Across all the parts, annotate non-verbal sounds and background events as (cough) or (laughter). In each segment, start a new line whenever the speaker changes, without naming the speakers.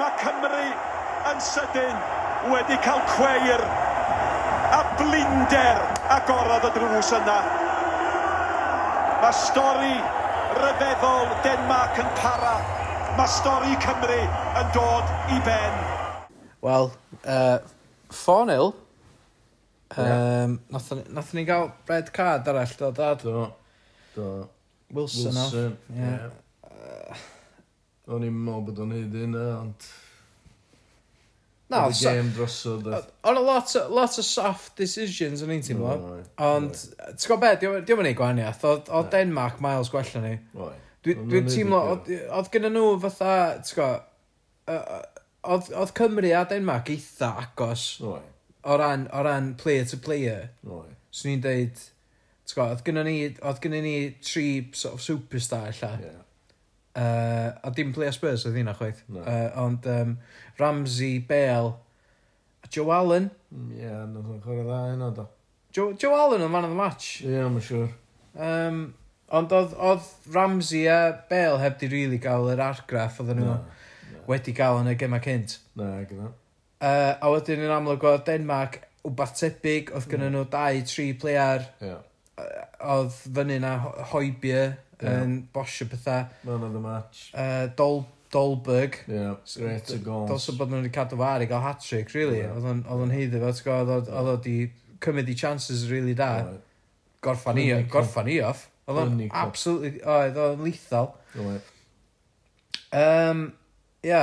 Mae Cymru yn sydyn wedi cael cweir a blinder agorodd y drws yna. Mae stori ryfeddol Denmark yn para. Mae stori Cymru yn dod i ben.
Wel, uh, 4-0. Um, Nathon nathon ni gael red card arall, do, dad?
Do. Do.
Wilson, Wilson.
Wilson. Ie. O'n i'n meddwl bod o'n hyd hynna, ond...
Na,
oedd y
so-
game drosodd. a-
O'n a lot, o- lot o soft decisions yn ein teimlo.
Oedd,
Ond, ti'n gwybod be, diolch yn ei gwahaniaeth. Oedd oedd Denmark miles gwella ni.
Oedd.
Dwi-
O'n
Dwi'n
nhw'n
teimlo,
neud
oedd- oedd gyda nhw fatha, ti'n gwybod, yy, oedd oedd Cymru a Denmark eitha agos
y peth. Oedd.
o ran, o ran player to player.
Oedd.
Swn i'n deud, ti'n gwybod, oedd gynnon ni, oedd gynnon ni tri sort of superstar illa.
Ie.
Uh, a dim player Spurs oedd hynna chwaith.
Na.
Uh, ond um, Ramsey, Bale, a Joe Allen.
Mm, Ie, nath o'n chwarae dda hynna, do.
Joe, Joe Allen oedd man of the match.
Ie, mae'n siŵr.
Um, ond oedd, oedd Ramsey a Bale heb di rili really gael yr argraff oedden nhw
Na.
wedi gael yn y gema cynt.
Na, gyda.
Uh, a wedyn yn amlwg oedd Denmark wbath tebyg, oedd gynnyn nhw 2-3 player
Ie.
yy, oedd fyny na ho- Hoybier
Ie.
yn bosio pethau.
Man of the match.
Uh, Dol, Dolberg,
Ie. Great o
Dos
goals.
o bod nhw wedi cadw far i gael hat-trick, really.
Ie.
Oedd o'n- oedd o'n heiddi fe, ti'n gwybod, oedd- oedd o wedi cymryd i chances really da.
Oedd.
Gorffan i,
Blyni cop.
gorffan i off. Oedd o'n
Blyni cop.
absolutely, oedd o'n lethal.
Oedd.
Um, ia.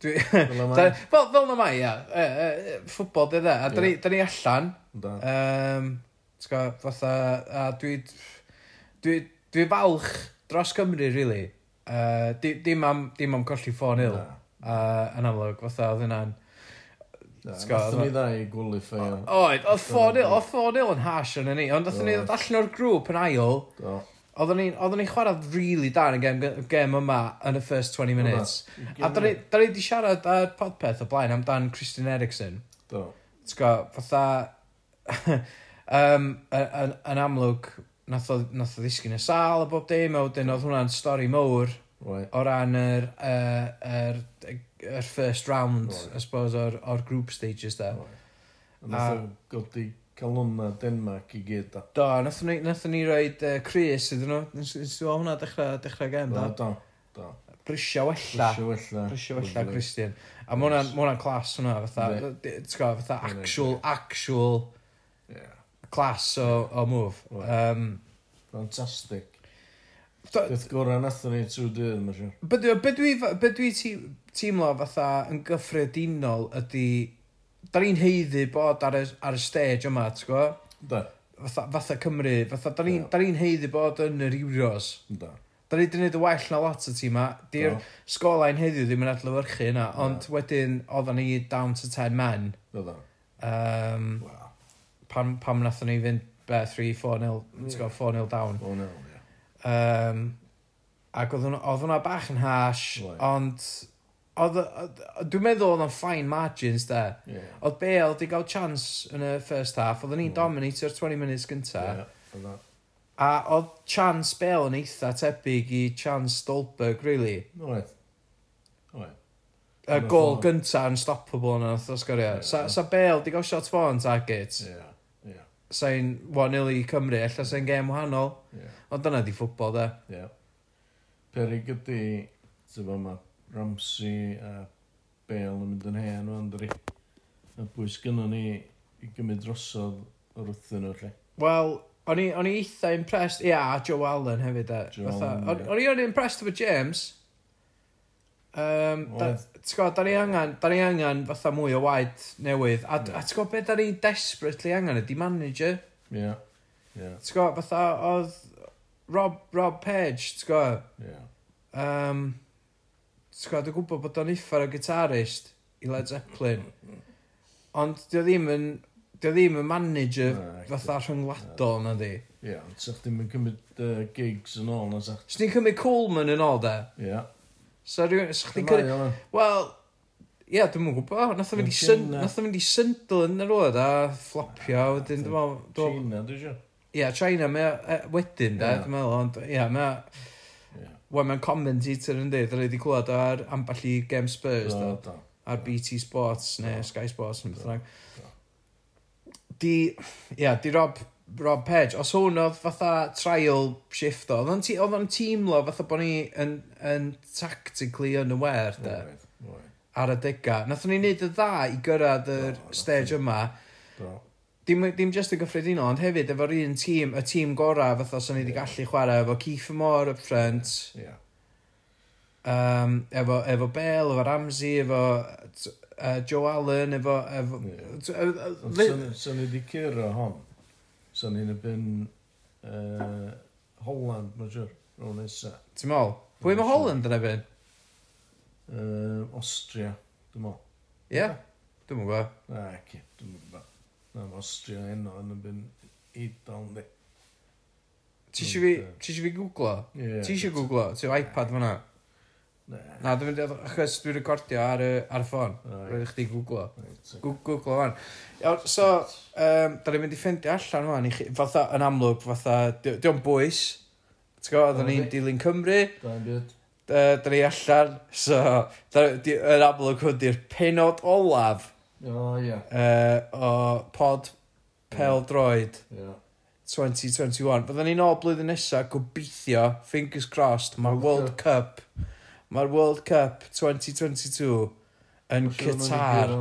Dwi...
Fel yma.
(laughs) (laughs) Da- Fel, fel na mai, ia. E, e, Ffwbol, dwi dda. A da ni- da ni allan.
Da.
Um, ti'n gwybod, fatha... A dwi... Dwi, dwi falch dros Cymru, really. Uh, di- dim am, dim am colli 4-0.
Na.
Uh, yn amlwg, fatha oedd hynna'n... Ti'n gwbod,
Nathon ni dda i gwlifio.
Oed, oedd 4-0 oedd 4-0 yn hash yn ni, ond oedden ni
Oedd.
ddod allan o'r grŵp yn ail,
Do.
oedden ni, oedden ni chwarae really da yn y gem, gem yma yn y first 20 minutes. A da ni wedi siarad ar podpeth o blaen amdan Christian Eriksen.
Do.
T'w go, (laughs) fatha... um, yn, yn- yn amlwg, nath o, nath o ddisgyn y sal a bob dim, a wedyn oedd hwnna'n stori mowr
Oedd.
o ran yr, uh, yr, yr first round, I suppose, o'r, or group stages da.
A Nath o godi calwna Denmark i gyd da.
Do, nathon ni, nathon ni roed uh, Chris iddyn nhw. Nes nes i weld hwnna dechrau, dechrau gem,
Do,
da.
do. Do.
Brisio wella.
Brisio wella.
Brisio wella, Christian. A ma' hwnna'n ma' hwnna'n clas hwnna, fatha,
Yndi.
d- ti'n gwybod, fatha
Yndi.
actual, actual
Ie.
clas o, o move. Um,
Fantastic.
do-
Beth gorau nathon ni trwy dydd, mae'n siŵr.
be dwi, be dwi, be dwi ti- teimlo fatha yn gyffredinol ydy, da ni'n heiddi bod ar y, ar y stage yma, ti'n gwybod?
Da.
Fatha, fatha Cymru, fatha, da ni'n yeah. heiddi bod yn yr Euros.
Da.
Da ni wedi gwneud y well na lot o ti ma. Di'r
Do.
sgolain heddiw ddim yn adlywyrchu yna, ond wedyn oedden ni down to 10 men.
Da, da.
Um,
Wow.
pam, pam nathon ni fynd be, 3-4-0, yeah. 4-0 down.
O, no, ie.
Um, ac oedd hwnna- oedd hwnna bach yn hash,
Right.
ond oedd, oedd, dwi'n meddwl oedd o'n fine margins da.
Ie.
Oedd Bale di gael chance yn y first half, oedden ni'n dominatio'r 20 minutes gynta,
Ie. Da.
a oedd chance Bale yn eitha tebyg i chance Stolberg, really.
Oedd. Oedd.
Y
Yn y
gol
form.
gynta yn stoppable yna, oedd o sgorio. Sa, sa Bale di gael shot fo yn target,
Ie. Ie.
sa'n 1-0 i Cymru, ella sa'n gem wahanol.
Ie.
Ond dyna di ffwbol, da.
Ie. Perig ydi, ti'n bod ma Ramsey a Bale yn mynd yn hen o'n dri. A bwys gynnon ni i gymryd drosodd o'r wrthyn nhw, lle.
Wel, o'n i, o'n i eitha impressed, ia, a Joe Allen hefyd, da.
Joe Allen,
o'n,
ie.
o'n i o'n i impressed efo James. Um, da,
Oedd.
ti'n gwybod, da ni angen, da ni angen fatha mwy o waed newydd. A, a ti'n gwybod beth da ni desperately angen ydi manager.
Ie. Ie.
Ti'n gwybod, fatha oedd Rob, Rob Page, ti'n gwybod,
Ie.
um, ti'n gwybod, dwi'n gwybod bod o'n iffar o gitarist i Led Zeppelin. Ond dio ddim yn, dio ddim yn manager
Na, ac-
fatha rhyngwladol na di.
Ie, ond sa'ch ddim yn cymryd uh, gigs yn ôl, na sa'ch...
Os ni'n cymryd Coleman yn ôl de?
Ie.
So rhywun, os chdi'n
Mae
cymryd...
o,
Wel, ie, yeah, dwi'n mwyn gwybod. Nath o fynd i
Mae
syn-
Gina-
nath o fynd i Sunderland ar ôl a flopio. Wedyn, dwi'n meddwl- dwi'n meddwl...
China, dwi eisiau.
Ie, China, mae o, e, wedyn de,
Ie.
dwi'n meddwl. Ond, ie, mae... o-
Ie.
Wel, mae'n commentator yn dweud, rhaid i clywed ar amball i Game Spurs,
Do,
do.
do.
ar BT Sports neu Sky Sports neu beth bynnag.
Do.
Di, ia, di Rob, Rob Page, os hwn oedd fatha trial shift o, oedd o'n ti- oedd o'n teimlo fatha bod ni yn, yn tactically unaware, de,
Alright, alright,
ar y dega. Nathon ni wneud y dda i gyrraedd yr
Do,
stage yma,
Do.
dim, dim just yn gyffredinol, ond hefyd efo'r un tîm, y tîm gorau fatha sy'n ni wedi gallu chwarae efo Keith Moore up front,
Ia.
um, efo, efo Bale, efo Ramsey, efo uh, Joe Allen, efo... efo
Ie.
t- uh, uh,
Ond
li-
sy'n- Sy'n ni wedi cyrra hon. Sy'n ni'n byn uh, Holland, mae'n siwr, rhwng nesa.
Ti'n mol? Pwy mae
Ie,
Holland yn ebyn?
Uh, Austria, dwi'n mo.
Ie? Dwi'n mwyn gwybod.
Na, ci, dwi'n mwyn gwybod. Na, mae Austria heno yn y byn Idol, di.
Ti eisiau fi, ti isio fi googlo?
Ie.
Ti eisiau googlo? Ti'n iPad fyna?
Na.
Na, dwi'n mynd, i- achos dwi'n recordio ar y, ar y ffôn.
Right.
Rwy'n chdi googlo.
Reit,
Gw- Googlo fan. Iawn, so, um, da ni'n mynd i ffeindio allan fan i chi. Fatha, yn amlwg, fatha, di- diolch bwys. Ti'n gwybod, da ni'n
Yndi.
dilyn Cymru.
Da'n byd.
uh, da ni allan, so, da- di- yr amlwg hwn di'r penod olaf
O, ia.
uh, o pod Pel Droid
Ia.
2021. Fydden ni'n ôl blwyddyn nesaf gobeithio, fingers crossed, mae'r World Cup, mae'r World Cup 2022 yn Qatar.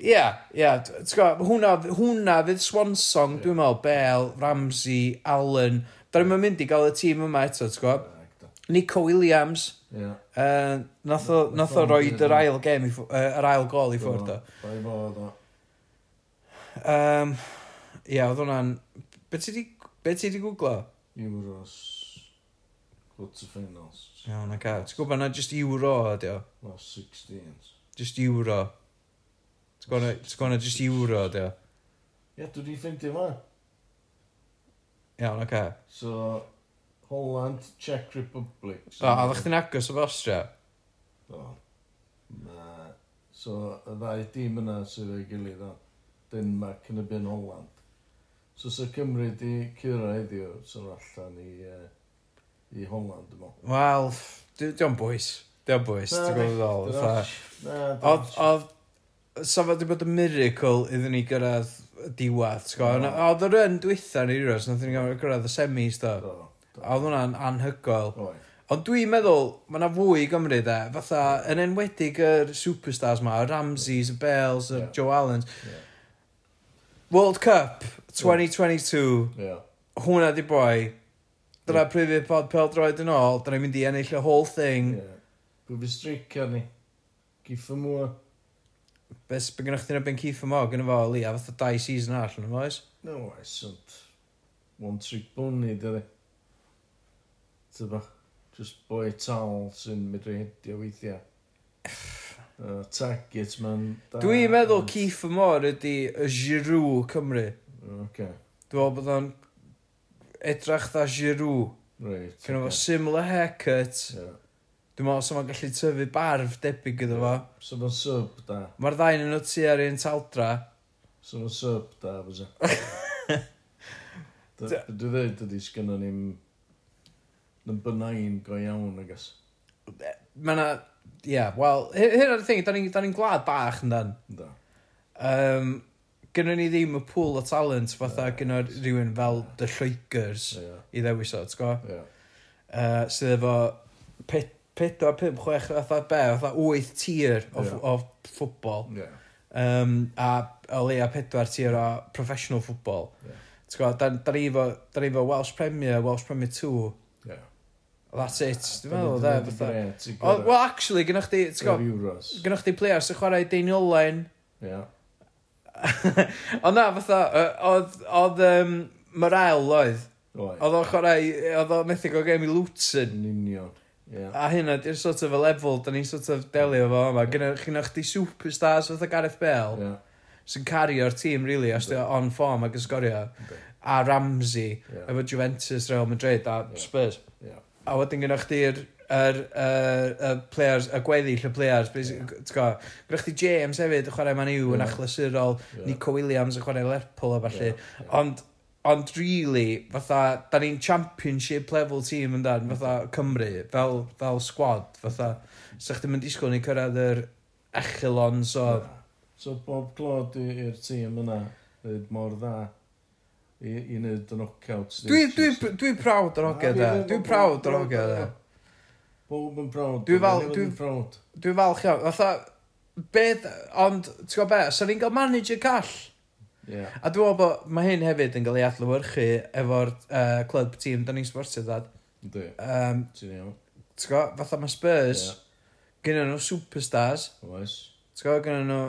Ia, ia, t- ti'n gwybod, hwnna, hwnna fydd Swansong,
Ie.
dwi'n meddwl, Bale, Ramsey, Allen, da ni'n mynd i gael y tîm yma eto, ti'n gwybod. Nico Williams,
Ia.
Uh, nath o, nath o roed yr ail game, i ffw- yy, yr ail gol i ffwrdd o.
Bai fod o.
Um, Ia, oedd hwnna'n... Be ti di, be ti di googlo?
Euros. Quarterfinals.
Iawn, ac a. Ti'n gwybod na just euro ydi o?
Last 16s.
Just euro. Ti'n gwybod na- ti'n gwybod na just euro ydi o?
Ia, dwi di ffeindio fa.
Iawn, ac a.
So, Holland, Czech Republic.
O, a ddech chi'n agos o Austria?
Do. Na. So, y ddau dîm yna sydd ei gilydd o. Denmark yn y byn Holland. So, sa Cymru di cyrra heddiw, sy'n allan i, uh, i Holland, dwi'n meddwl.
Wel, ff, di- diolch bwys. Diolch bwys,
Na,
ti'n gwybod
dyna-
ddol.
na, dyna-
Oedd, oedd, sa fo di bod yn miracle iddyn ni gyrraedd y diwad, ti'n gwybod? Oedd yr yn dwytha ni Euros, nath ni gyrraedd y semis, do.
Do, do.
A Oedd hwnna'n anhygoel.
Oedd.
Ond dwi'n meddwl, mae yna fwy i Gymru de, fatha, yn enwedig yr superstars ma, y Ramses, y Bales, y
Ie.
Joe Allens.
Ie.
World Cup 2022,
Ie.
hwnna di boi. Dyna prifio pod pel droed yn ôl, dyna ni'n mynd i ennill y whole thing.
Ie. Pwy fi streicio ni? Giff y mwy.
Beth sy'n gynnwch chi'n ebyn Keith Amog yn y fo, Lee, a fatha dau season arall yn y foes.
No, oes, ond... One trick pony, dyna. Tyba. Just boi tal sy'n medru hedio weithiau.
(sighs)
Uh, target man. da-
Dwi'n meddwl
mm.
Keith Amog ydi y Giroux Cymru.
Oce,
Dwi'n meddwl bod o'n edrach dda Giroux.
reit.
Cyn efo
oce.
similar haircut.
Ie.
Dwi'n meddwl sy'n gallu tyfu barf debyg iddo fo.
So ma'n sub da.
Mae'r ddain yn o tu ar un taldra.
So ma'n sub da, e. fysa.
(laughs)
Dwi dweud ydy sgynnon ni'n... Yn bynain go iawn, agos.
Mae yna... Ie, yeah, wel, hy- hyn o'r thing, da ni'n ni glad bach yn dan.
Da.
Um, Gynnu ni ddim y pŵl o talent fatha gynnu rhywun fel The Lloegrs
Ie.
i ddewis o, ti'n gwybod?
Ie.
Uh, sydd efo 4, 5, 6, fatha be, fatha 8 tir o,
Ie.
yeah. o ffwbol.
Ie.
um, a o leia pedwar tir o professional football.
Ie.
Yeah. T'w gwybod, da, da ni efo- da ni efo Welsh Premier, Welsh Premier 2,
Ie.
that's it, dwi'n
Ah,
meddwl, da, fatha. O,
fatha.
Wel, actually, gynnwch chi, ti'n
Yr
gwybod,
Euros.
gynnwch chi players sy'n chwarae Daniel Olwen,
Ie.
(laughs) ond na, fatha, yy, oedd, oedd, um, Morel oedd,
Oedd.
oedd o'n chwarae, oedd o'n methu go game i Luton,
Yn union. Ie.
a hynna, di'r sort of y lefel, da ni'n sort of delio fo yma, gynnwch gynnwch chi superstars fatha Gareth Bale,
Ie.
sy'n cario'r tîm, really, os dwi on form ac yn sgorio. A Ramsey,
Ie.
efo Juventus, Real Madrid a
Ie.
Spurs.
Ie.
A wedyn gynnwch chi'r yr, yr, y players, y gweddill y players, yeah. gynnwch chi James hefyd, y chwarae Man U yn
Ie.
achlysurol,
Ie.
Nico Williams yn chwarae Lerpwl a falle,
Ie.
ond Ond really, fatha, da ni'n championship level team yn dan, fatha Cymru, fel, fel squad, fatha, sa'ch ddim yn disgwyl ni cyrraedd yr echelons o...
So bob clod i- i'r tîm yna, dweud mor dda, i, i wneud y knockout
Dwi,
stages.
dwi, dwi prawd o'r oged e, dwi prawd o'r oged e.
Bob yn prawd.
Dwi fel-
bob
dwi-
yn prawd.
Dwi'n falch iawn, fatha, beth, ond, ti'n gwybod be, sa'n ni'n cael manager call?
Ie.
A dwi'n meddwl bod, mae hyn hefyd yn cael ei adlywyrchu efo'r uh, club tîm da ni'n sportio dad.
Ynddi,
Um,
Ti'n iawn.
ti'n gwybod, fatha mae Spurs,
Ie.
yeah. gyda nhw superstars,
Oes.
Ti'n gwybod gyda nhw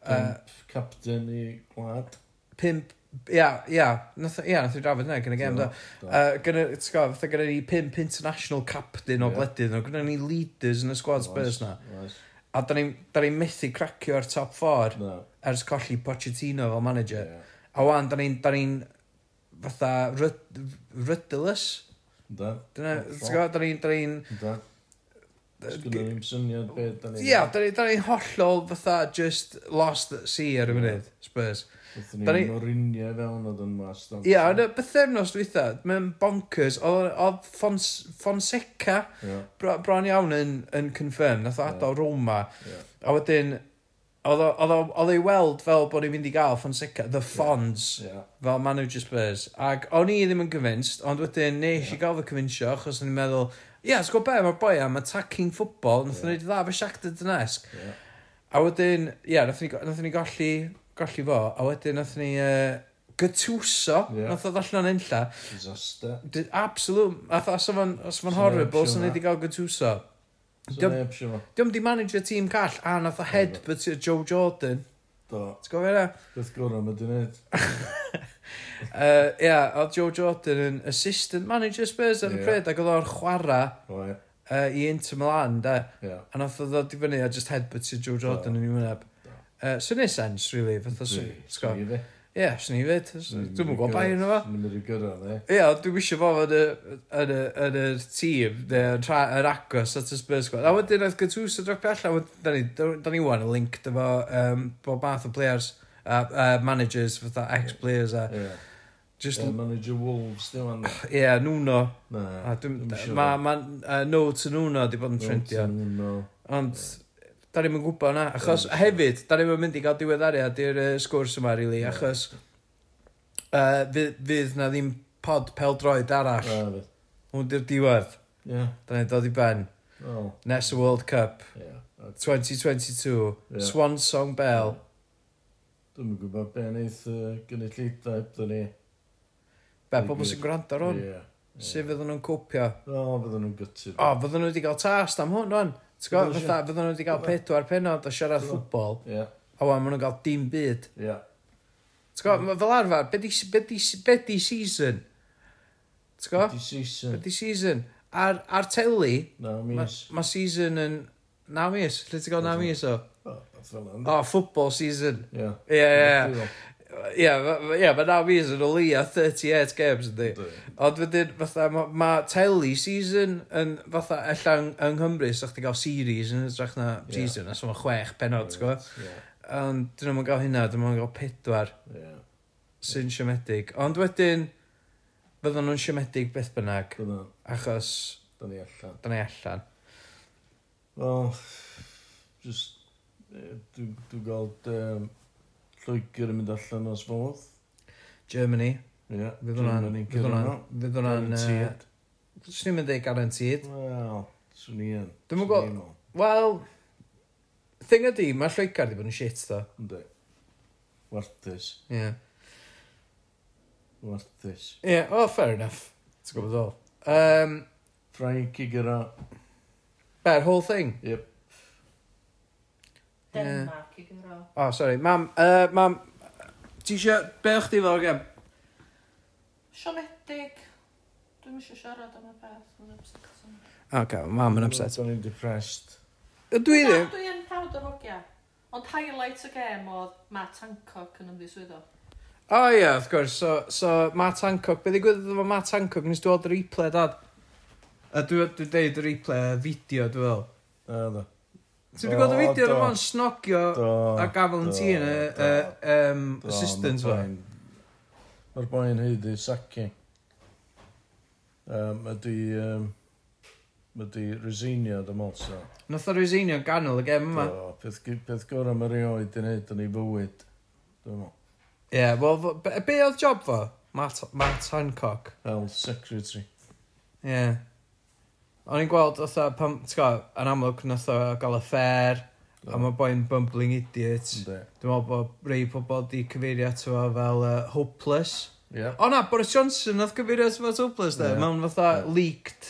uh,
Pimp captain i gwlad.
pimp... Ia, ia, nath, ia, nath i drafod yna gyda gem da.
Do.
Uh, gyda, ti'n gwybod, fatha gyda ni pimp international captain o
Ie.
bledydd nhw, gyda ni leaders yn y squad Spurs na.
Oes.
A da ni'n da ni methu cracio ar top 4
Na.
ers colli Pochettino fel manager.
Ie.
A wan, da ni'n da ni'n fatha ryd, rydylus.
Da.
Dyna,
Hollol.
ti'n gwybod, da ni'n da ni'n
Da. Sgwna ni'n syniad beth da ni.
Ia, da ni- da ni'n hollol fatha just lost at sea ar y
Mm.
munud, Spurs.
Wnaethon
da
ni
ni-
norinio fewn oedd yn mas. Ie.
Ia, yn y bythefnos dwytha, mae'n bonkers, oedd oedd Fons- Fonseca
Ie.
bro- bron iawn yn, yn confirm, nath o
Ie.
adael Roma,
Ie.
a wedyn, oedd o- oedd o- oedd ei weld fel bod ni'n mynd i gael Fonseca, the Fons,
Ie.
fel manager Spurs, ac o'n i ddim yn convinced, ond wedyn nes i gael fy convincio, achos o'n i'n meddwl, ia, yeah, sgwb be, mae'r boi am attacking football, nath o'n
Ie.
neud i dda, fe Shakhtar Donetsk,
Ie.
A wedyn, ie, yeah, nath ni, nath ni golli, golli fo, a wedyn nath ni uh, gytwso,
Ie.
yeah. nath o ddallan yn enlla.
Disaster.
D- Absolute, nath o safo'n
Sneb
horrible,
siŵr
sy'n
na.
wedi gael gytwso.
So
Dym-
neb siw.
Diolch di manager tîm call, a nath o headbutt i'r Joe Jordan.
Do.
T'w gofio yna?
Beth gorau mae di wneud.
Uh, Ie, oedd Joe Jordan yn assistant manager Spurs ar y
Ie.
pryd, ac oedd o'n chwarae
Oe.
uh, i Inter Milan, da.
Ie.
A nath o ddod i fyny a just headbutt i'r Joe Jordan yn ei wyneb. Uh, so nes sens, really, fatha swn. t'w gwbo?
Dwi- dwi fe.
Ie, swn i fyd. Dwi'n mwyn gwybod bai yna fo.
Dwi'n mynd i gyrra, ne?
Ia, dwi'n wisio fo yn y, yn y, yn y tîm, neu yn tra- yn agos at y Spurs squad. A wedyn oedd Gattuso dropio allan, wedyn- da ni, da ni wan yn linked efo um, bob math o players, uh, uh, managers, fatha ex-players a
Ie.
just,
Ie, Manager Wolves, dim ond.
ie, yeah, Nuno.
Na.
A dwi'n,
Dwi'm siŵr.
ma, ma, uh, no to Nuno di bod yn trendio.
Dwi'n meddwl.
Ond, da ni'n gwybod na, achos hefyd, da ni'n mynd i gael diweddariad i'r uh, sgwrs yma, really, achos uh, fydd, fydd na ddim pod peldroed arall.
Na, fydd.
Hwn di'r diwedd.
Ie.
Da ni'n dod i ben.
Wel,
Nes y World Cup
ie. A
2022.
Ie.
Swan Song Bell.
Dwi'm yn gwybod be wneud gynulleidfa ebda ni.
Be,
Very
pobl
good.
sy'n gwrando ar hwn?
Ie.
Sut fydden nhw'n cwpio?
O, fydden nhw'n gytid.
O, fydden nhw wedi cael tast am hwn, rwan. T'w gwybod,
Fydden nhw
fatha, fydden nhw wedi cael
Fydden.
pedwar penod o siarad ffwbol,
Ie.
a wan, maen nhw'n cael dim byd.
Ie.
T'w
Mm.
gwybod, ma- fel arfer, be di- be di be di season? T'w gwybod?
Di
Be
season.
di season? Ar, ar teli,
Na,
ma-
mis.
ma season yn... Na mis, lle ti'n gael na mis o?
O, fel yna.
O, ffwbol season.
Ie.
Ie, ie, ie. Ie, ma- ie, mae naw mis yn o li a 38 games ydy.
Yndi.
Ond wedyn, fatha, mae ma teli season yn, fatha, ella yng, yng Nghymru, so chdi gael series yn ytrach na
Ie.
season, yeah. a so mae chwech penod, ti'n gwybod?
Ie.
Ond dyn nhw'n gael hynna, dyn nhw'n gael pedwar
Ie.
sy'n siomedig. Ond wedyn, fydden nhw'n siomedig beth bynnag,
Dyna,
achos
da ni allan.
dyna i allan.
Wel, just, eh, dwi- dwi'n gweld um, Lloegr yn mynd allan os fodd.
Germany,
Ie,
fydd hwnna'n... Fydd
Germany'n cyrraedd
hwnna'n... Fydd hwnna'n...
nhw.
yy,
Guaranteed.
Swn i'n mynd ei garantid.
Wel, swn i yn.
Dwi'm yn
Swn
gweld-
i meddwl.
Wel, thing ydi, mae Lloegar wedi bod yn shit, do.
Yndi. Warthus,
Ie. Yeah.
warthus.
Ie, yeah, well, fair enough. Ti'n gwybod ddol. Um,
Frank i gyda.
be'r whole thing.
Yep.
Denmark i gyro.
Oh, sorry. Mam, uh, mam, ti eisiau, be o'ch di fel o'r gem?
Siomedig. Dwi'n eisiau siarad am y beth. Mae'n upset.
Ok, mam yn upset.
Dwi'n depressed.
Dwi
Na,
ddim.
Dwi'n prawd o'r hogia. Ond highlight y gêm oedd Matt Hancock yn ymddiswyddo.
O oh, ie, yeah, wrth gwrs. So, so Matt Hancock, be ddigwyddodd efo Matt Hancock nes dwi'n oed replay, dad? A dwi'n dwi deud y replay, y fideo, dwi'n fel.
Na, da.
Ti'n wedi gweld y
O,
fideo
do.
o'n fo'n snogio
Do.
a gafel yn tîn y
do,
y, um,
do,
assistants
ma'
fo?
fe'n Mae'r boi'n heiddi, Saki. Um, ydy, um, ydy Resinia, dim ond, so.
Nath o Rosinio ganol y gem yma. Ie,
Do, Peth, gy- peth gorau mae'r rioed yn neud yn ei fywyd. Dwi'n meddwl.
yeah, wel, fo- be, be oedd job fo? Matt, Matt Hancock.
Health Secretary.
Ie. Yeah. O'n i'n gweld, oedd o, pam, ti'n gwybod, yn amlwg nath o gael affair, a mae boi'n bumbling idiot.
Ynddi.
Dwi'n meddwl bod rei pobl di cyfeirio ato fo fel uh, hopeless.
Ie.
O na, Boris Johnson oedd cyfeirio ato fo as hopeless de,
Ie.
mewn fatha leaked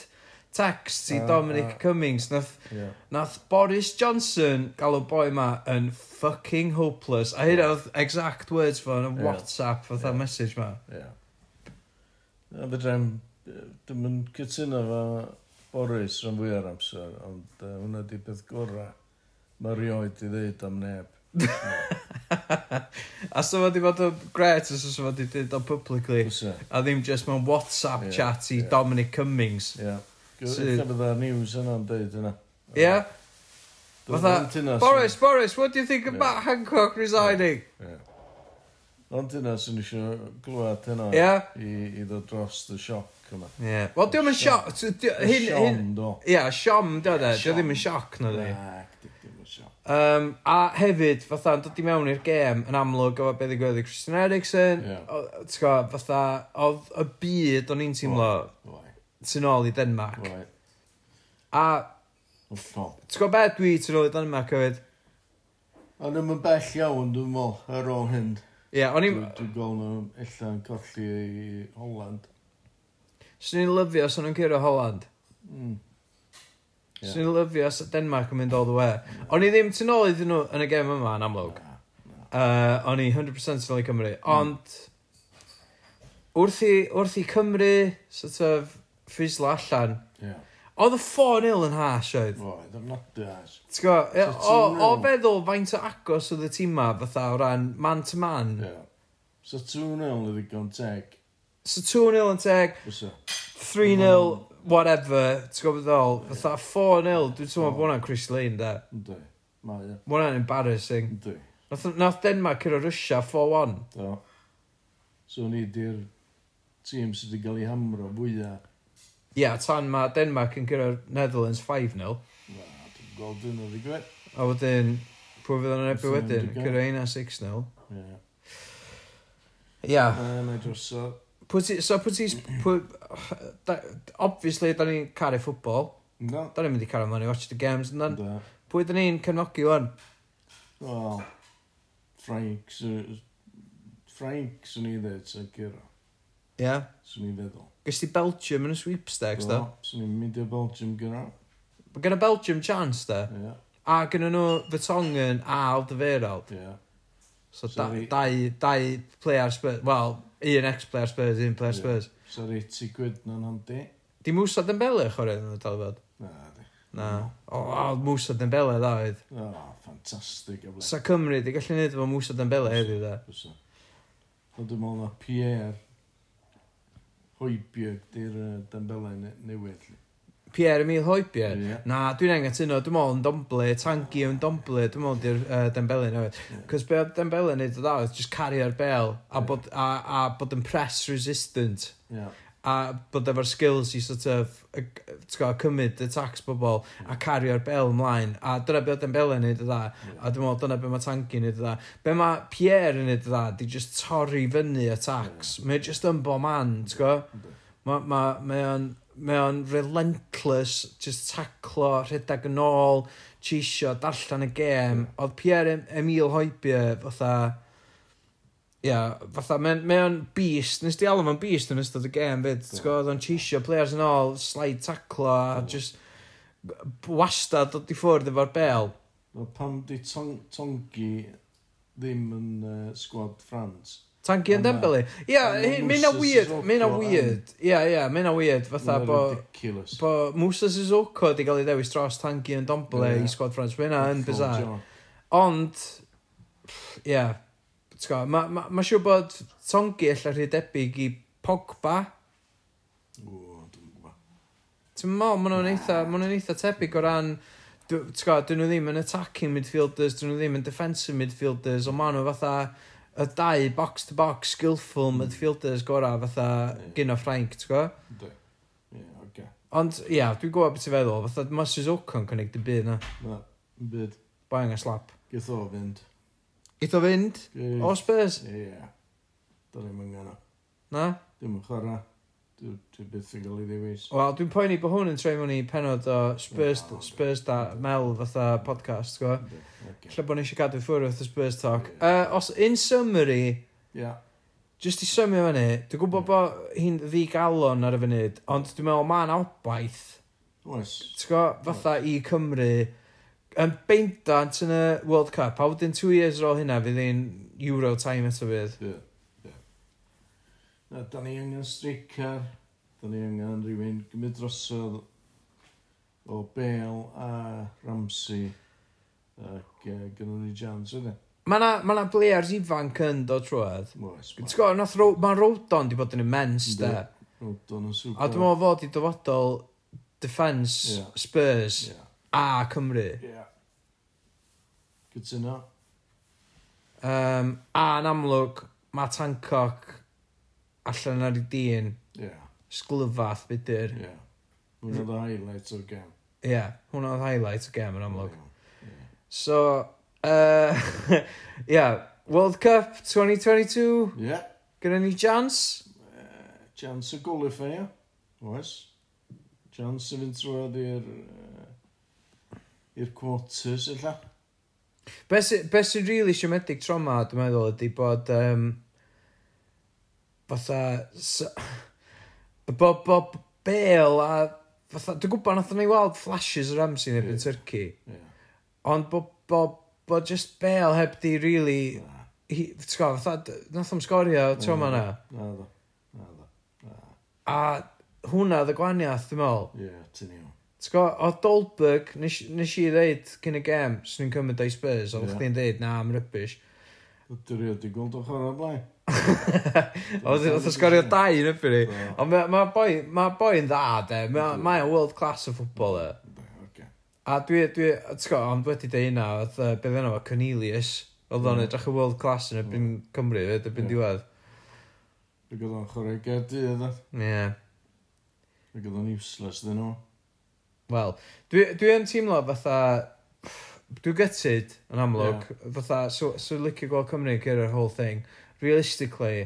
text i
A-
Dominic
a-
Cummings. Nath,
Ie.
nath Boris Johnson gael y boi ma yn fucking hopeless. A hyn oedd exact words fo yn y
Ie.
WhatsApp fatha
Ie.
message ma.
Ie. A fydrem, dim yn cytuno fo Boris rhan fwy ar amser, ond uh, hwnna di peth gorau. Mae rioed i ddeud am neb.
A so fo di fod yn gret os oes fo di dweud o publicly.
Fysa?
A ddim just mewn WhatsApp
e. Ie,
chat i
ie.
Dominic Cummings.
Ie.
Sydd-
Gwyd fydda news yna'n deud yna.
Yeah?
Dwi'n
Fatha,
ond hynna sy'n-
Boris, Boris, what do you think of
Ie.
Matt Hancock resigning?
Ie. Ond hynna sy'n eisiau glwad hynna
Ie.
i, i ddod dros y sioc yma.
Ie. Wel, diolch yn sioc. Hyn, hyn...
Siom, do.
Ie, siom, diolch de. Diolch
Siom.
ddim yn sioc, na di.
Ac, di- dim yn sioc.
Um, a hefyd, fatha, yn dod i mewn i'r gêm yn amlwg o beth i gwyth i Christian Eriksen.
Ie.
o- T'w go, fatha, oedd y byd o'n i'n teimlo
Wai,
tu nôl i Denmark.
wai.
A,
Hollol.
t'w go beth dwi tu nôl i Denmark hefyd?
Ond ddim yn bell iawn, dwi'n meddwl, ar ôl hyn.
Ie, o'n i'n...
Dwi'n dwi gweld nhw ella'n colli i Holland.
Swn i'n lyfio os o'n nhw'n cyrra Holland. Hmm.
Mm. Ie.
Swn i'n lyfio os oedd Denmark yn mynd all the way. O'n i ddim tu nôl iddyn nhw yn y gêm yma yn amlwg. Uh, o'n i 100% tu nôl i Cymru.
Hmm.
Ond wrth i, wrth i Cymru sort of ffisla allan,
Ie.
oedd y 4-0 yn hash oedd.
Fo, ddim not as.
T'w go, ie, o, o
4-0.
feddwl faint o agos oedd y tîm ma fatha o ran man to man.
Ie. So 2-0 ydy gan teg.
So 2-0 yn teg,
Fysa.
3-0, whatever, ti'n gwybod ddol, fatha 4-0, dwi'n teimlo bod hwnna'n Chris Lane, da.
Ynddi. Mae e.
Mae hwnna'n embarrassing.
Ynddi.
Nath, nath Denmark yr o Russia 4-1.
Do. So ni di'r tîm sydd wedi cael ei hamro fwyaf.
Ie, yeah, tan mae Denmark yn gyrra'r Netherlands 5-0.
Na, dwi'n gweld hyn oedd i gwe.
A wedyn, pwy fydd yn ebu
Fydd o'n
wedyn,
digon.
gyrra hynna 6-0.
Ie.
Ie. Yeah.
Mae'n ei droso.
So pwy ti... pwy- (sighs) da- Obviously, da ni'n caru ffwbol.
No.
Da ni'n mynd i caru mlaen i watch the games. Yndan,
Ynddi.
pwy da ni'n cefnogi wan?
Wel, Frank, sy- Frank, swn i ddweud, sy'n gyro.
Ie. Yeah.
Swn i feddwl.
Gys ti Belgium yn y sweepstakes, da?
Do, Swn i'n mynd i'r Belgium gyro.
Mae gen y Belgium chance, da?
Ie,
A gen nhw Vertonghen a Alderweireld.
ie.
So, da,
Sorry.
dau, dau player Spurs. Wel, un ex-player Spurs, un player
Ie.
Spurs.
Sa'r 80 gwyd na'n handi.
Di Moussa Dembele chwarae yn y dalfod?
Na, di.
Na. O, o Moussa Dembele dda oedd.
O, ffantastig o ble.
Sa Cymru, di gallu neud efo Moussa Dembele heddiw dda.
Fysa. Ond dwi'n meddwl na Pierre Hoibiog di'r uh, Dembele ne- newydd. lli.
Pierre-Emile Hoybier.
Ie.
Na, dwi'n anghytuno, dwi'n meddwl yn domble, tangi yn domble, dwi'n meddwl di'r uh, Dembele newydd. Cos be oedd Dembele neud o dda oedd, just carrio'r bel, a
Ie.
bod, a, a bod yn press resistant,
Ie,
a bod efo'r skills i sort of, y- ti'n gwbod, cymryd y tax bobl, a carrio'r bel ymlaen, a dyna be oedd Dembele neud o dda. A dwi'n meddwl dyna be mae Tanki yn ei dda. Be mae Pierre yn ei dda, di just torri fyny attacks. Mae o just yn bo man, ti'n go?
Yndi.
Mae ma, mae o'n mae o'n relentless, just taclo, rhedag yn ôl, cheisio, darllen y gêm. Oedd Pierre Em- Emile Hoibier, fatha... Ia, yeah, fatha, mae o'n- mae o'n beast, nes di alw ma'n beast yn ystod y gêm fyd, ti'n gwybod, oedd o'n cheisio players yn ôl, slide taclo, a
Mm.
just wastad dod i ffwrdd efo'r bel.
Wel, pam di tong Tongi ddim yn uh, sgwad France?
Tanki yn
Ond na.
Dembele. Ie,
Ond ma'
hyn- mae hynna
Moussa
weird,
Sissoko
mae hynna
yn-
weird. Ie, ie, mae hynna weird. Fatha
Mae'n
bo,
Ridiculous.
bo Musa Sissoko di gael ei ddewis dros Tanki yn Dembele
Ie.
i squad France. Mae hynna yn
Full
bizar.
job.
Ond, pff, ie, yeah, mae ma, ma siŵr bod Tongi allan rhy debyg i Pogba.
O, dwi'n gwybod.
Ti'n meddwl, maen nhw'n eitha, ma nhw'n eitha tebyg o ran... Ti'n gwybod, dyn nhw ddim yn attacking midfielders, dyn nhw ddim yn defensive midfielders, ond maen nhw fatha y dau box-to-box skillful midfielders gorau fatha
Hmm. Ie.
gyn o Frank, ti'n gwybod?
Ynddi. Ie, oce.
Ond, ia, dwi'n gwybod beth i feddwl, fatha mae Suzuka'n cynnig dy byd na,
Na, yn byd.
boi angen slap.
Geth o fynd.
Gyd o fynd?
Geth-
O Spurs?
Ie. Da ni'n angen o.
Na?
Dim yn chwarae. Dwi dwi byth yn gael ei ddewis.
Wel, dwi'n poeni bod hwn yn troi mewn i penod o Spurs,
Wel,
Spurs da Mel fatha podcast, ti'n gwybod?
Ynddi, oce.
Lle bod ni eisiau cadw ffwrdd wrth y Spurs talk.
Ie.
Uh, os, in summary,
Ie.
Just i symio fyny, dwi'n
Hmm.
gwybod bod hi'n ddigalon ar y funud, ond dwi'n meddwl mae'n awbaith,
Oes.
ti'n
Hmm.
gwybod, fatha i Cymru, yn beindant yn y World Cup, a wedyn two years ar ôl hynna fydd hi'n Euro time eto fydd.
Ie. Ie. Na, da ni angen streicar. Da ni angen rhywun gymryd drosodd o Bale a Ramsey. Ac uh, gynnu ni jans yna.
Mae na, ma na players ifanc yn dod trwad.
Oes.
Ti'n gwybod, nath ro, mae'n rodon di bod yn immens,
Yndi.
da.
Rodon yn super.
A dwi'n meddwl fod i dyfodol defence,
Ie.
Spurs
Ie.
a Cymru.
Ie. Cytuno.
Um, a yn amlwg, mae Tancock allan ar ei dyn.
Ie.
sglyfath bydyr. Ie,
Ie. Mwy oedd y highlight o'r gem.
yeah. hwnna oedd highlight y gem yn amlwg.
Ie.
So, uh, (laughs) yeah, World Cup 2022,
Ie.
gyda ni chance.
Chance y gwlifau. Oes. Chance y fynd trwad i'r... yy, i'r quarters, illa.
Be sy- be sy'n really siomedig tro ma, dwi'n meddwl, ydy bod, um, fatha, s- bod, bod Bale a, fatha, dwi'n gwybod nath ni weld flashes o Ramsey neu yn
Ie.
Turkey,
Ie.
ond bod, bod, bod just Bale heb di really,
Na. Mm.
hi, ti'n gwybod, fatha, d- nath o'n sgorio tro ma na.
Na ddo. Na ddo.
A hwnna oedd y gwaniaeth, dwi'n meddwl.
Ie, ti'n iawn.
T'w go, o Dolberg, nes, nes i ddeud cyn y gem, swn i'n cymryd o'i Spurs, oedd
Ie.
chdi'n deud, na, am
(laughs)
rybys.
Ydy rhaid di gweld o'ch ar y blaen.
Oedd oedd o sgorio dau yn ybyn ni.
Do.
Ond mae ma boi, ma boi yn dda, de. Mae'n ma mae'n world class o ffwbol, e.
Be, oce.
A dwi, dwi, t'w go, ond wedi deud hynna, oedd, uh, beth yna fo, Cornelius. Oedd o'n
Ie.
edrych yn world class yn ybyn Cymru, fe, ybyn
Ie.
diwedd.
Fe gyda o'n chwarae gerdi, ydw.
Ie.
Fe gyda o'n useless, ydyn nhw.
Wel, dwi, dwi yn teimlo fatha... Dwi'n gytid yn amlwg. Yeah. Fatha, so, so licio gweld Cymru gyda'r whole thing. Realistically,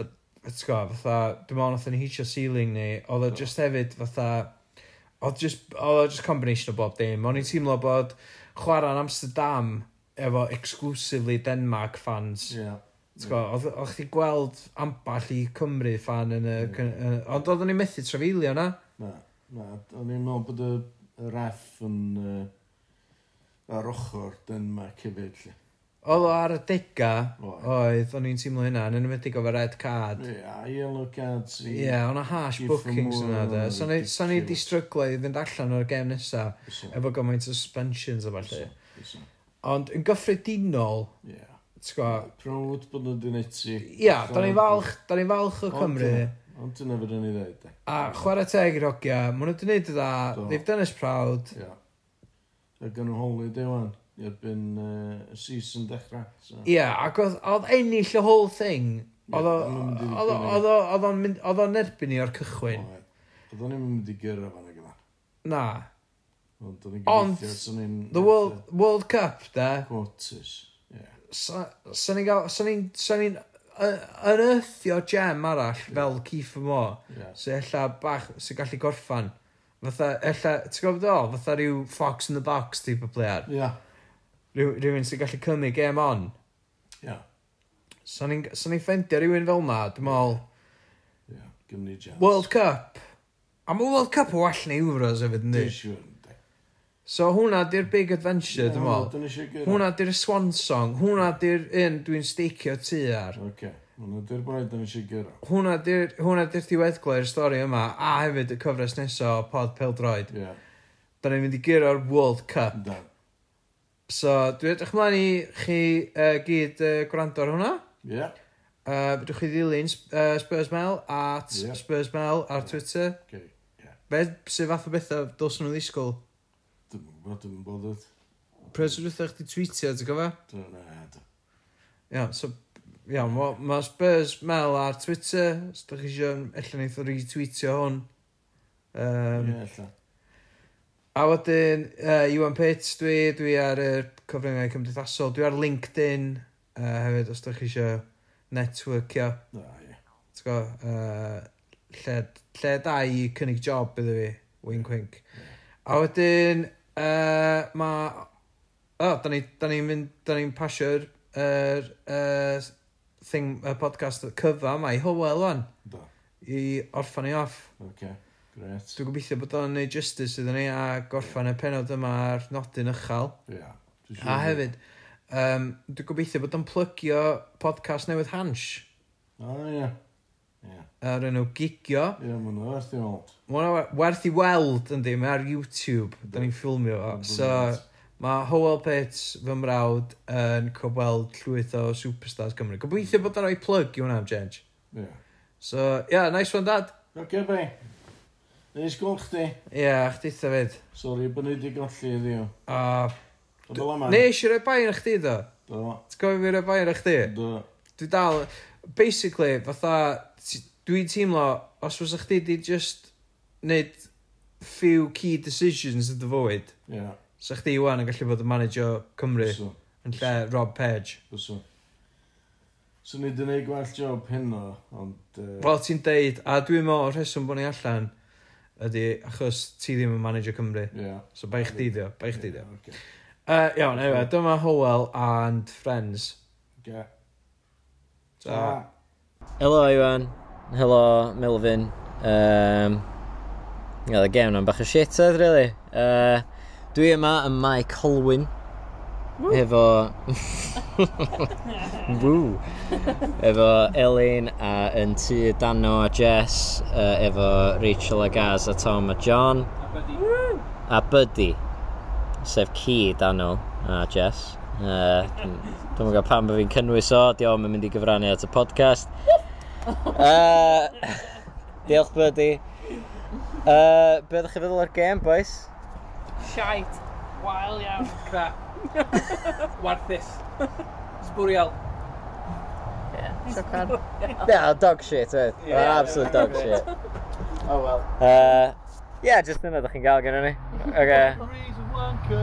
da- ti'n gwybod, fatha, dwi'n meddwl nath ni hitio ceiling ni, oedd o
Do.
just hefyd, fatha, oedd just, oedd o just combination o bob dim. O'n i'n teimlo bod chwarae'n Amsterdam efo exclusively Denmark fans.
Ie.
T'w gwbo, Oedd oedd chdi gweld amball i Cymru fan yn y...
Ie.
cyn- yn- Ond oedden ni'n methu trafeilio na.
Na, na. O'n i'n meddwl bod y y ref yn... yy, ar ochr Denmark hefyd, lle.
Oedd o ar y dega,
Oedd.
oedd, o'n i'n teimlo hynna, yn enwedig o fe red card. Ie,
Ie, a yellow cards i...
yeah, o'na harsh
Give
bookings
them
yna,
all,
de. So ni- so ni di
ridiculous.
stryglo i fynd allan o'r gem nesa,
Fysa,
efo gymaint o suspensions a falle.
fysa, fysa.
Ond yn gyffredinol,
Ie.
ti'n gwbo,
Proud bod nhw'n dyneti.
ia, da ni'n falch, da ni'n falch o Cymru,
Ond dyna fydden ni ddeud, de.
a chwarae teg i'r hogia, maen nhw wedi gwneud y dda,
Do.
they've done us proud,
Ie. A gan nhw holiday wan, i erbyn yy, y season dechrau. So.
ia, ac oedd- oedd ennill y whole thing,
Ie,
oedd o-
maen nhw'n mynd i
oedd o-
ddigon i-
oedd o- oedd o'n mynd- oedd o'n erbyn ni o'r cychwyn,
Oedd. Oedden ni'n mynd i gyrra fan ag yna.
na.
Ond oedden ni'n
Ond,
gobeithio os o'n i'n...
The World, World Cup, da,
Quarters. Ie.
Sa- sa ni'n gael, sa ni'n, sa ni'n y- unearthio gem arall fel Keith Moore,
Ie.
sy'n ella bach, sy'n gallu gorffan. Fatha, ella, ti'n gwybod o, fatha rhyw Fox in the Box type o player.
Ie.
Rhyw, rhywun sy'n gallu cymryd game on.
Ie.
Sa ni'n sa ni'n ffendio rhywun fel ma, dwi'n meddwl,
Ie. Gymru jazz.
World Cup. A mae World Cup yn well neu Euros hefyd, ynddi?
Dwi'n siŵr. yndi.
So hwnna di'r big adventure,
Ie,
dwi'n
wel,
meddwl.
Oedden ni eisiau gyrra.
Hwna di'r swan song, hwna di'r un dwi'n steicio tu ar.
Oce. Hwna di'r boi oedden ni eisiau gyrra.
hwnna di'r hwnna di'r diweddglau i'r stori yma a hefyd y cyfres nesaf o Pod Peldroed
Ie.
da ni'n mynd i gyro'r World Cup
Da.
so dwi'n edrych mlaen i chi uh, gyd uh, gwrando ar hwnna
Ie.
uh, fydwch chi ddilyn uh, Spurs Mel at
Ie.
yeah. Spurs Mel ar Twitter
Oce. Ie.
be sy'n fath o bethau dylsyn nhw ddisgwyl
Dwi'n bod yn bodd.
pres rwythau chdi tweetio ti'n gofio
Dwi'n na.
iawn so Iawn, wel, mae Spurs Mel ar Twitter, os da chi eisiau, allan eitho retweetio hwn. Um,
Ie, lla.
A wedyn, uh, Iwan Pits dwi, dwi ar y cyfryngau cymdeithasol, dwi ar LinkedIn, uh, hefyd, os da chi eisiau networkio,
Da, ie.
ti'n go, uh, lle, lle da i cynnig job iddo fi, wink wink. A wedyn, uh, mae, o, oh, da ni'n da ni mynd, da ni'n pasio'r er, uh, thing, y podcast cyfa yma i Hywel wan,
Da,
i orffan i off.
oce. Gret.
Dwi'n gobeithio bod o'n neud justice iddyn ni a gorffan y penod yma ar nodyn uchel.
Ia. Dwi'n siŵr
A
bod-
hefyd, um, dwi'n gobeithio bod o'n plygio podcast newydd Hans
O, ie. Ie.
ar enw Gigio.
Ie, ma' hwnna werth i weld.
Ma' hwnna we- werth i weld yndi, mae ar YouTube, da ni'n ffilmio fo. So, mae Howell Pits, fy mrawd, yn cobweld llwyth o superstars Cymru. Gobeithio bod o'n rhoi plug i hwnna am change.
Ie.
So, ia, yeah, nice one dad.
Oce, bai. Neis gweld chdi.
Ia, yeah, chditha fyd.
Sori, bod ni wedi golli iddi o.
A,
Ond fel yma.
ne eisiau rhoi bai ar chdi do?
Do,
T'w gofio fi rhoi bai ar chdi?
do.
dwi dal, basically, fatha, ti- dwi'n teimlo, os fysa chdi di just neud few key decisions yn dy fywyd,
Ie.
sa chdi iwan yn gallu bod yn manager Cymru
So.
yn lle Rob Page.
Byswn. So ni wedi gwneud gwell job hyn o, ond... Uh,
Fel ti'n deud, a dwi'n meddwl o'r rheswm bod ni allan, ydy achos ti ddim yn manager Cymru.
Ie.
So bai chdi dio, bai chdi dio.
Oce.
Uh, iawn, anyway, dyma Howell and Friends.
Oce. Ah.
Ta.
Helo Iwan, helo Melvin. Um, yeah, the game na'n bach o shit oedd, really. Uh, dwi yma yn Mike Colwyn. Efo... Woo! efo Elin a yn tŷ Dano a Jess, uh, efo Rachel a Gaz a Tom a John. A Buddy. Sef ci Dano a Jess. Uh, Dwi'n gwybod pam bod fi'n cynnwys o, diolch yn mynd i gyfrannu at y podcast. (laughs) Uh, diolch bod i. Uh, be ydych chi'n feddwl o'r gêm, boys?
Shite. Wael iawn. Crap. Warthus. Sbwriel.
Yeah, dog shit, oedd. Yeah, absolute dog shit.
Oh, wel.
Uh, yeah, just dyna ydych chi'n gael gen ni. Okay.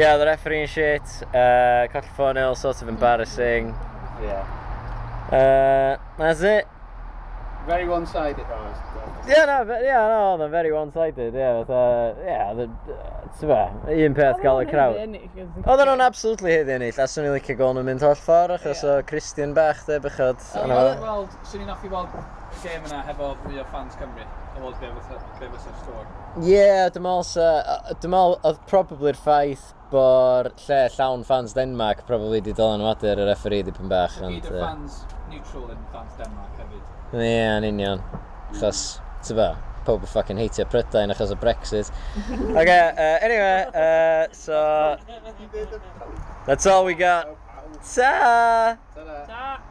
Yeah, the refereeing shit. Uh, Coll ffôn ill, sort of embarrassing.
Yeah.
Uh, that's it.
Very one sided.
Yeah, no, but, yeah, no, oedd yn very one-sided, yeah, fatha, yeah, the, uh, ti'n ba, un peth gael y crowd. Oedden nhw'n absolutely heddi yn eill, aswn i'n licio gol nhw'n mynd holl ffordd, achos o Christian bach, de, bychod.
Swn
arno
i'n
fo.
weld, swn i'n hoffi weld y gêm yna hefo mwy o fans Cymru. O fod be fysa- be fysa'r stor.
Ie, dim ol, dim ol, oedd probably'r ffaith bo'r lle llawn fans Denmark probably di dolan wadur y referee dipyn bach, ond...
Gyd o
yy,
fans neutral yn fans Denmark hefyd.
Ie, yn union. Achos, ti'n ba, pob yn ffucking heitio Prydain achos o Brexit. OK, uh, anyway, uh, so... That's all we got. Ta!
Ta!